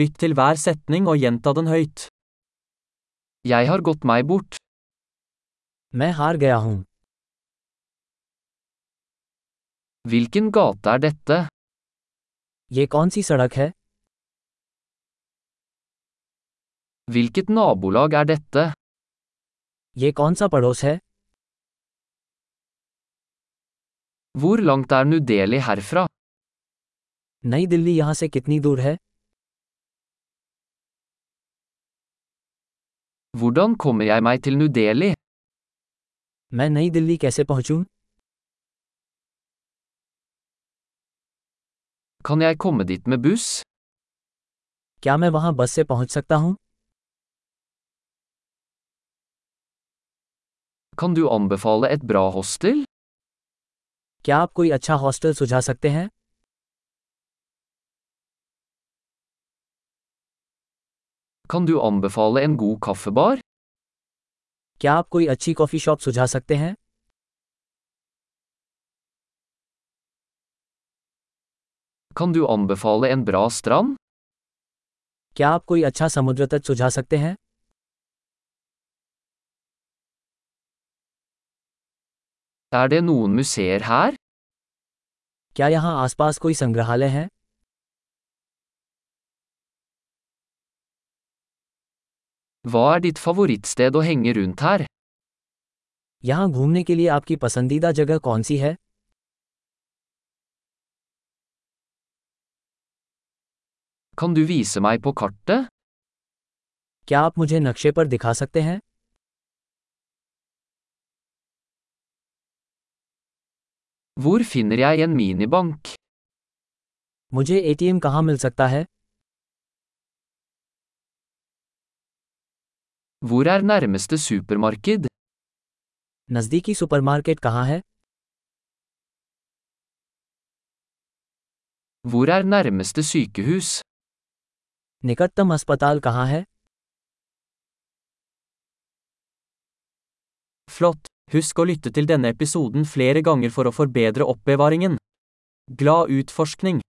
Lytt til hver setning og gjenta den høyt. Jeg har gått meg bort. मैं हार गया हूँ Hvilken gate er dette? ये कौन सी सड़क है Hvilket nabolag er dette? ये कौन सा पड़ोस है Hvor langt er New Delhi herfra? नई दिल्ली यहाँ से कितनी दूर है Hvordan kommer jeg meg til New Delhi? मैं नई दिल्ली कैसे पहुँचूँ Kan jeg komme dit med buss? क्या मैं वहाँ बस से पहुँच सकता हूँ Kan du anbefale et bra hostel? क्या आप कोई अच्छा हॉस्टल सुझा सकते हैं Kan du anbefale en god kaffebar? क्या आप कोई अच्छी कॉफ़ी शॉप सुझा सकते हैं Kan du anbefale en bra strand? क्या आप कोई अच्छा समुद्र तट सुझा सकते हैं Er det noen museer her? क्या यहाँ आसपास कोई संग्रहालय है Hva er ditt favorittsted å henge rundt her? यहाँ घूमने के लिए आपकी पसंदीदा जगह कौन सी है Kan du vise meg på kartet? क्या आप मुझे नक्शे पर दिखा सकते हैं Hvor finner jeg en minibank? मुझे एटीएम कहाँ मिल सकता है Hvor er nærmeste supermarked? नज़दीकी सुपरमार्केट कहाँ है Hvor er nærmeste sykehus? निकटतम अस्पताल कहाँ है Flott! Husk å lytte til denne episoden flere ganger for å forbedre oppbevaringen. Glad utforskning!